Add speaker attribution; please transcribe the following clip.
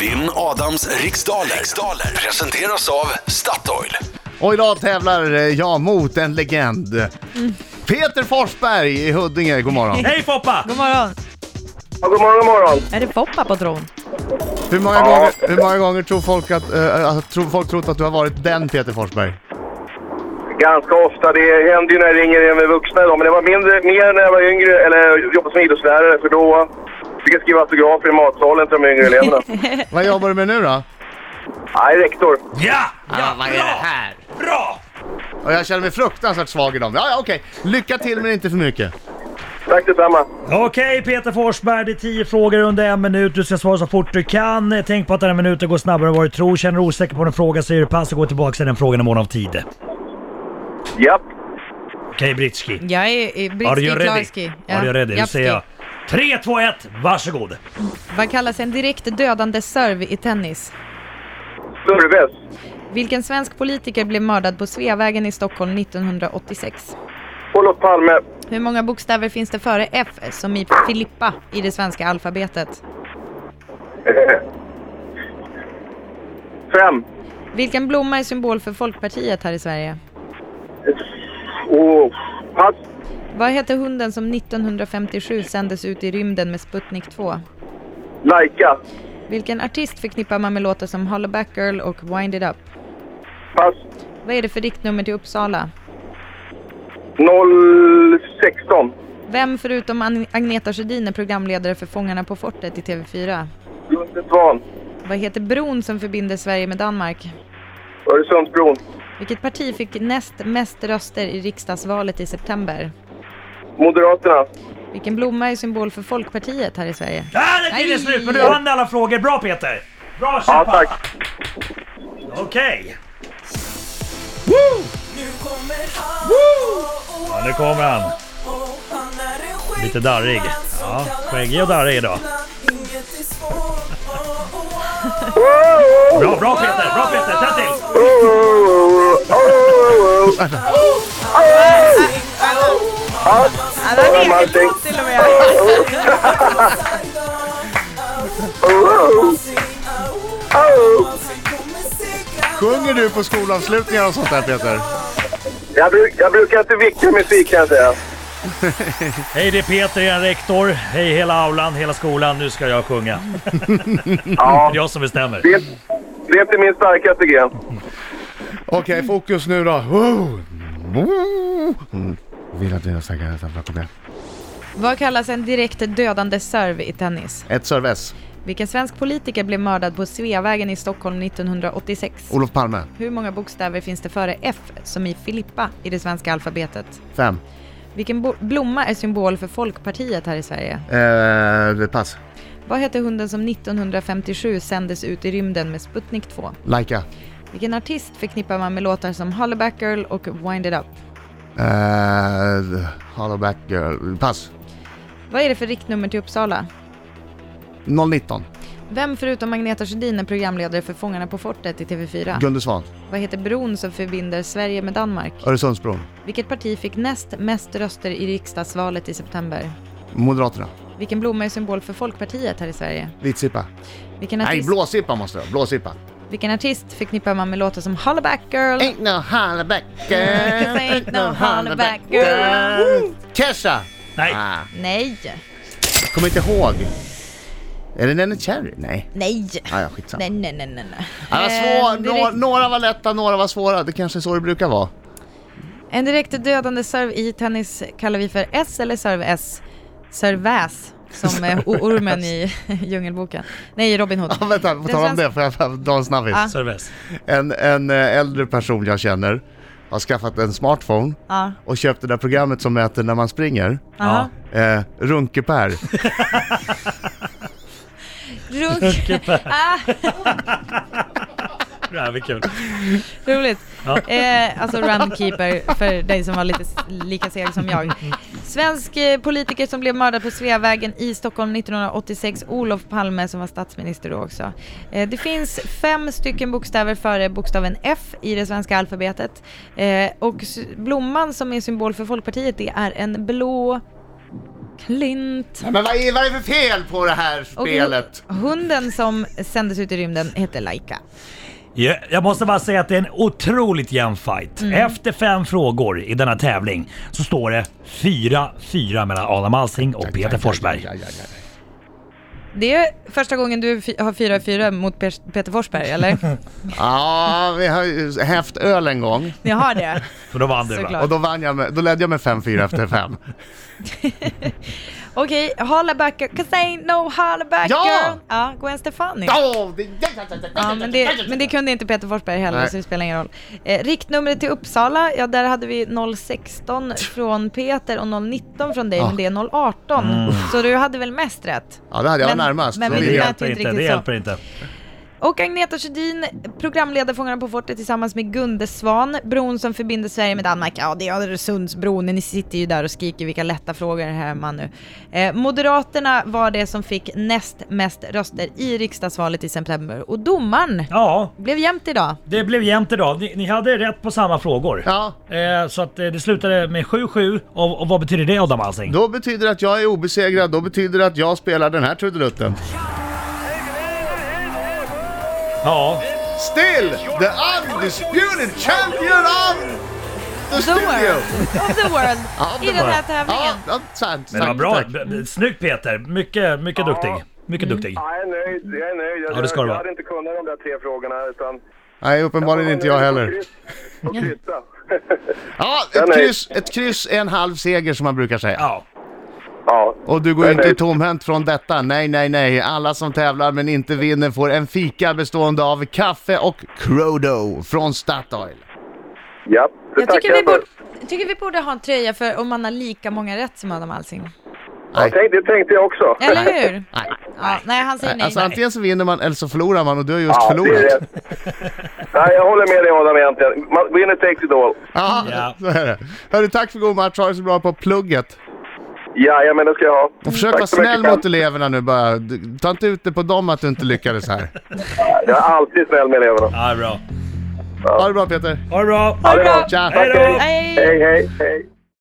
Speaker 1: Vinn Adams riksdaler. riksdaler presenteras av Statoil.
Speaker 2: Och idag tävlar eh, jag mot en legend. Peter Forsberg i Huddinge, god morgon.
Speaker 3: Hej Foppa!
Speaker 4: God morgon.
Speaker 5: Ja, god morgon, god morgon.
Speaker 4: Är det Foppa på tron?
Speaker 2: Hur många,
Speaker 5: Ja.
Speaker 2: gånger, hur många gånger tror folk att, eh, att- tror folk trott att du har varit den Peter Forsberg?
Speaker 5: Ganska ofta. Det händer ju när jag ringer även med vuxna idag. Men det var mindre, mer när jag var yngre, eller jobbade som idrottslärare. För då fick jag skriva autografer i matsalen till de yngre eleverna.
Speaker 2: Vad jobbar du med nu då?
Speaker 5: Nej, rektor.
Speaker 3: Ja! ja
Speaker 6: vad är
Speaker 3: bra!
Speaker 6: det här?
Speaker 3: Bra!
Speaker 2: Och jag känner mig fruktansvärt svag idag. Ja, ja okej. Lycka till men inte för mycket.
Speaker 5: Tack detsamma.
Speaker 3: Okej Peter Forsberg, det är 10 frågor under en minut. Du ska svara så fort du kan. Tänk på att den här minuten går snabbare än vad du tror. Känner du osäker på en fråga så är det pass och gå tillbaka till den frågan imorgon av tid.
Speaker 5: Japp.
Speaker 3: Okej Britski.
Speaker 4: Jag är eh, i
Speaker 3: Are you
Speaker 4: britski,
Speaker 3: ready?
Speaker 4: klarski.
Speaker 3: Are you ready? Nu
Speaker 4: japski.
Speaker 3: säger jag 3, 2, 1, varsågod!
Speaker 4: Vad kallas en direkt dödande serve i tennis?
Speaker 5: Service.
Speaker 4: Vilken svensk politiker blev mördad på Sveavägen i Stockholm 1986?
Speaker 5: Olof Palme.
Speaker 4: Hur många bokstäver finns det före F som i Filippa i det svenska alfabetet?
Speaker 5: Fem.
Speaker 4: Vilken blomma är symbol för Folkpartiet här i Sverige?
Speaker 5: Och pass.
Speaker 4: Vad hette hunden som 1957 sändes ut i rymden med Sputnik 2?
Speaker 5: Laika.
Speaker 4: Vilken artist förknippar man med låtar som Holla Back Girl och Wind It Up?
Speaker 5: Pass.
Speaker 4: Vad är det för riktnummer till Uppsala?
Speaker 5: 016.
Speaker 4: Vem förutom An- Agneta Sjödin är programledare för Fångarna på fortet i TV4?
Speaker 5: Gunde Svan.
Speaker 4: Vad heter bron som förbinder Sverige med Danmark?
Speaker 5: Öresundsbron.
Speaker 4: Vilket parti fick näst mest röster i riksdagsvalet i september?
Speaker 5: Moderaterna.
Speaker 4: Vilken blomma är symbol för Folkpartiet här i Sverige?
Speaker 3: Där är tiden
Speaker 4: Nej.
Speaker 3: slut men du hann alla frågor. Bra Peter! Bra
Speaker 5: Ja,
Speaker 3: kämpat!
Speaker 5: tack.
Speaker 3: Okej!
Speaker 7: Nu kommer han,
Speaker 3: Ja, nu kommer han.
Speaker 7: och han är en skäggman
Speaker 3: Lite darrig.
Speaker 7: som
Speaker 3: Ja,
Speaker 7: kallas
Speaker 3: skäggig och darrig idag.
Speaker 7: Vasla. Inget är svårt, oh, oh, oh.
Speaker 3: Bra, bra Peter! Bra Peter! Tänd till!
Speaker 2: Sjunger du på skolavslutningar och sånt där Peter?
Speaker 5: Jag, bruk, jag brukar inte vicka musik kan jag säga.
Speaker 3: Hej det är Peter, er rektor. Hej hela aulan, hela skolan. Nu ska jag sjunga. Det
Speaker 5: Ja,
Speaker 3: är jag som bestämmer.
Speaker 5: det, det är inte min starkaste gren.
Speaker 2: Okej, fokus nu då. Wow. Mm. Vill att dina stackare samlar kom igen.
Speaker 4: Vad kallas en direkt dödande serve i tennis?
Speaker 2: Ett service.
Speaker 4: Vilken svensk politiker blev mördad på Sveavägen i Stockholm 1986?
Speaker 2: Olof Palme.
Speaker 4: Hur många bokstäver finns det före F som i Filippa i det svenska alfabetet?
Speaker 2: Fem.
Speaker 4: Vilken bo- blomma är symbol för Folkpartiet här i Sverige?
Speaker 2: Eh, pass.
Speaker 4: Vad hette hunden som 1957 sändes ut i rymden med Sputnik 2?
Speaker 2: Laika.
Speaker 4: Vilken artist förknippar man med låtar som Holla Back Girl och Wind It Up?
Speaker 2: Eh, hollow back girl. Pass.
Speaker 4: Vad är det för riktnummer till Uppsala?
Speaker 2: 019.
Speaker 4: Vem förutom Agneta Sjödin är programledare för Fångarna på fortet i TV4?
Speaker 2: Gunde Svan.
Speaker 4: Vad heter bron som förbinder Sverige med Danmark?
Speaker 2: Öresundsbron.
Speaker 4: Vilket parti fick näst mest röster i riksdagsvalet i september?
Speaker 2: Moderaterna.
Speaker 4: Vilken blomma är symbol för Folkpartiet här i Sverige?
Speaker 2: Vitsippa.
Speaker 4: Vilken
Speaker 2: Nej,
Speaker 4: artist,
Speaker 2: blåsippa måste det vara. Blåsippa.
Speaker 4: vilken artist förknippar man med låtar som Holla Back Girl?
Speaker 2: Ain't no hollaback girl.
Speaker 4: Cause ain't no hollaback girl.
Speaker 2: Woo! Kesha!
Speaker 3: Nej.
Speaker 2: Ah,
Speaker 4: Nej,
Speaker 2: kommer inte ihåg. Är det Nenny Cherry? Nej.
Speaker 4: nej,
Speaker 2: Ah, ja, skitsamma.
Speaker 4: nej, nej, nej, nej. nej.
Speaker 2: Ah, vad
Speaker 4: Eh,
Speaker 2: svår. Nå-
Speaker 4: direkt-
Speaker 2: några var lätta, några var svåra. Det kanske är så det brukar vara.
Speaker 4: En direkt dödande serve i tennis kallar vi för S eller serve-S. Serväs, som eh, o- ormen i Djungelboken. Nej, i Robin Hood.
Speaker 2: Ja, vänta, på
Speaker 4: Den
Speaker 2: tal om
Speaker 4: svenska-
Speaker 2: det, får jag får jag dra en snabbis?
Speaker 4: Ah.
Speaker 3: Service.
Speaker 2: En, en eh, äldre person jag känner har skaffat en smartphone
Speaker 4: Ja.
Speaker 2: och köpt det där programmet som mäter när man springer.
Speaker 4: Aha.
Speaker 2: Eh, Runkepär.
Speaker 4: Runk. Ah,
Speaker 3: Det här blir kul.
Speaker 4: roligt. Eh, alltså runkeeper för dig som var lite s- lika seg som jag. Svensk eh, politiker som blev mördad på Sveavägen i Stockholm 1986, Olof Palme som var statsminister då också. Eh, det finns fem stycken bokstäver före bokstaven F i det svenska alfabetet. Eh, och s- blomman som är symbol för Folkpartiet det är en blå Klint.
Speaker 2: Nej, men vad är, vad är det för fel på det här spelet?
Speaker 4: Och hunden som sändes ut i rymden heter Laika.
Speaker 3: Ja, Jag måste bara säga att det är en otroligt jämn fight.
Speaker 4: Mm.
Speaker 3: Efter fem frågor i denna tävling så står det 4-4 mellan Adam Alsing och Peter Forsberg.
Speaker 2: Ja, ja, ja, ja.
Speaker 4: Det är första gången du fy- har 4-4 mot Per- Peter Forsberg, eller?
Speaker 2: Ja, vi har ju häft öl en gång
Speaker 4: Ni har det?
Speaker 3: För då vann du va?
Speaker 4: Såklart.
Speaker 2: och då, vann jag med, då ledde jag med 5-4 efter 5.
Speaker 4: Okej, holla back girl, cause ain't no holla back
Speaker 2: Ja!
Speaker 4: girl. Ja, Gwen Stefani.
Speaker 2: Oh, det...
Speaker 4: Ja, men det, men det kunde inte Peter Forsberg heller,
Speaker 2: Nej.
Speaker 4: så det spelar ingen roll. Eh, riktnumret till Uppsala, ja där hade vi 016 från Peter och 019 från dig,
Speaker 2: Ja. Mm.
Speaker 4: men det är 018. Så du hade väl mest rätt?
Speaker 2: Ja, det hade jag
Speaker 4: Men-
Speaker 2: närmast.
Speaker 4: men
Speaker 2: Så
Speaker 4: vi
Speaker 3: Det
Speaker 2: det-
Speaker 4: lät-
Speaker 3: hjälper
Speaker 4: inte
Speaker 3: inte, det
Speaker 4: riktigt så.
Speaker 3: hjälper inte.
Speaker 4: Och Agneta Sjödin, programledare Fångarna på fortet tillsammans med Gunde Svan, bron som förbinder Sverige med Danmark. Ja, det är Öresundsbron, ni sitter ju där och skriker vilka lätta frågor det här man nu. Eh, Moderaterna var det som fick näst mest röster i riksdagsvalet i september och domaren
Speaker 3: Ja,
Speaker 4: blev jämnt idag.
Speaker 3: det blev jämnt idag. Ni, ni hade rätt på samma frågor.
Speaker 2: Ja,
Speaker 3: Eh, så att eh, det slutade med 7-7 och, och vad betyder det Adam Alsing?
Speaker 2: då betyder det att jag är obesegrad, då betyder det att jag spelar den här trudelutten.
Speaker 3: Ja,
Speaker 2: Still the undisputed champion of the
Speaker 4: The
Speaker 2: studio!
Speaker 4: world, of the world,
Speaker 2: Ja,
Speaker 4: i
Speaker 2: det
Speaker 4: den här
Speaker 2: Ja,
Speaker 4: tävlingen.
Speaker 2: ja, sant,
Speaker 3: men det var
Speaker 2: sant,
Speaker 3: bra.
Speaker 2: tack.
Speaker 3: B- b- Snyggt Peter! Mycket, mycket duktig. Mycket duktig.
Speaker 5: Ja, jag är nöjd. Jag är nöjd. Jag,
Speaker 3: Ja, det ska du
Speaker 5: jag
Speaker 3: vara.
Speaker 5: hade inte kunnat de där tre frågorna. Utan
Speaker 2: Nej, uppenbarligen inte jag heller.
Speaker 5: Och kryssa.
Speaker 2: Ja,
Speaker 5: Den
Speaker 2: ett
Speaker 5: är-
Speaker 2: kryss, ett kryss är en halv seger som man brukar säga.
Speaker 3: Ja,
Speaker 5: ja.
Speaker 2: Och du går ju
Speaker 5: Nej,
Speaker 2: inte
Speaker 5: nej.
Speaker 2: tomhänt från detta. Nej, nej, nej. Alla som tävlar men inte vinner får en fika bestående av kaffe och Crodo från Statoil.
Speaker 5: Ja, det
Speaker 4: Jag tycker
Speaker 5: tackar
Speaker 4: vi,
Speaker 5: för.
Speaker 4: borde, tycker vi borde ha en tröja för om man har lika många rätt som Adam Alsing.
Speaker 5: Ja, tänk, det tänkte jag också.
Speaker 4: Eller hur?
Speaker 2: Nej.
Speaker 4: Ja, nej, han säger
Speaker 2: nej.
Speaker 4: nej.
Speaker 2: Alltså antingen så vinner man eller så förlorar man och du har just
Speaker 5: Ja, det är
Speaker 2: förlorat.
Speaker 5: rätt. Nej, jag håller med dig Adam egentligen. Man- Winner takes it all.
Speaker 2: Ja,
Speaker 3: Ja.
Speaker 2: så är det. Hörru, tack för god match. Ha det så bra på plugget.
Speaker 5: Jajamän, det ska jag ha.
Speaker 2: Och försök
Speaker 5: Tack
Speaker 2: vara
Speaker 5: så mycket,
Speaker 2: snäll
Speaker 5: Ken.
Speaker 2: mot eleverna nu bara. Du- Ta inte ut det på dem att du inte lyckades här.
Speaker 5: Jag är alltid snäll med eleverna.
Speaker 3: ja bra.
Speaker 2: Ha det bra Peter.
Speaker 3: Ha det bra!
Speaker 4: Ha det bra!
Speaker 2: Tja.
Speaker 3: Hej då!
Speaker 5: Hej, hej, hej.